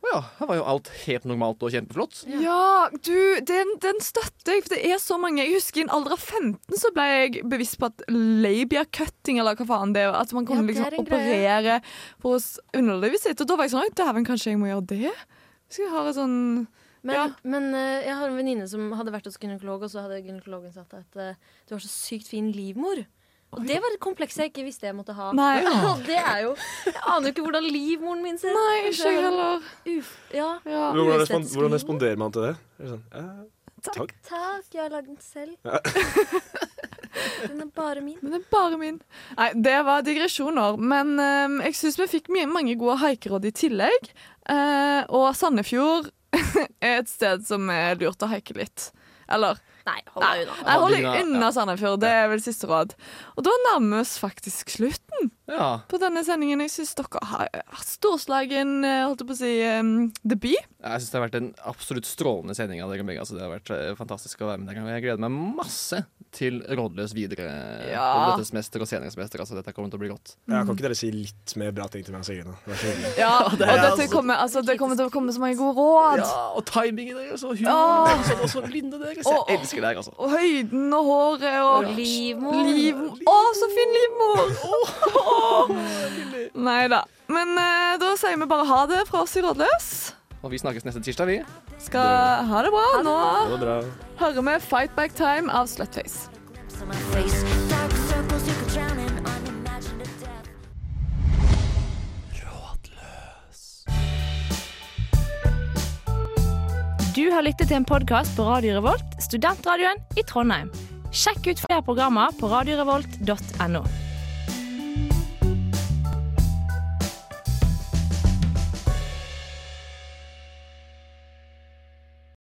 Å ja, her var jo alt helt normalt og kjempeflott.
Ja, du, den, den støtter jeg, for det er så mange. Jeg husker i en alder av 15 så ble jeg bevisst på at labia cutting, eller hva faen det er, at man kunne
Ja, det er
liksom
en greie.
operere på s- underlivet sitt. Og da var jeg sånn Oi, dæven, kanskje jeg må gjøre det? Hvis jeg har et sånn
Men,
Ja.
men eh, jeg har en venninne som hadde vært hos gynekolog, og så hadde gynekologen sagt at eh, du har så sykt fin livmor. Og det var et kompleks jeg ikke visste jeg måtte ha.
Nei.
Og det er jo Jeg aner jo ikke hvordan livmoren min ser ut.
Nei, ikke jeg heller.
Uf, ja,
Ja.
Hvordan,
uestetisk
respon hvordan
livmor.
responderer man til det? Er det sånn, eh, takk.
Takk, jeg har lagd den selv. Den er bare min.
Men det er bare min. Nei, det var digresjoner. Men ehm, jeg syns vi fikk mye, mange gode haikeråd i tillegg. Eh, og Sandefjord er et sted som er lurt å haike litt. Eller
Nei, hold
deg unna. Nei, hold deg unna Sandefjord. Det er vel siste råd. Og da nærmer vi oss faktisk slutten
Ja.
på denne sendingen. Jeg syns dere har vært storslagen, eh, holdt jeg på å si, ehm, debut.
Jeg syns det har vært en absolutt strålende sending av dere begge. Altså, det har vært eh, fantastisk å være med dere. og Jeg gleder meg masse til Rådløs videre.
Ja.
Dette semester og senere semester. Altså, dette kommer til å bli godt.
Ja, kan ikke dere si litt mer bra ting til meg? Sigrun, da? Vær så hyggelig.
Ja, og
Det er
dette
altså-
kommer, altså, det kommer til å komme så mange gode råd.
Ja, og timingen deres og
Åh.
humoren deres og også lynnet deres.
Åh.
Jeg elsker dere, altså.
Og høyden og håret og
Ja. Livmor.
Livm- Å, så fin livmor! Nei da. Men eh, da sier vi bare ha det fra oss i Rådløs.
Og vi snakkes neste tirsdag, vi.
Skal ha det bra. Nå
det bra.
hører vi Fight Back Time av Slutface.
Dark circles you could drown in unimagined death.
Du har lyttet til en podkast på Radio Revolt, studentradioen i Trondheim. Sjekk ut flere programmer på radiorevolt.no.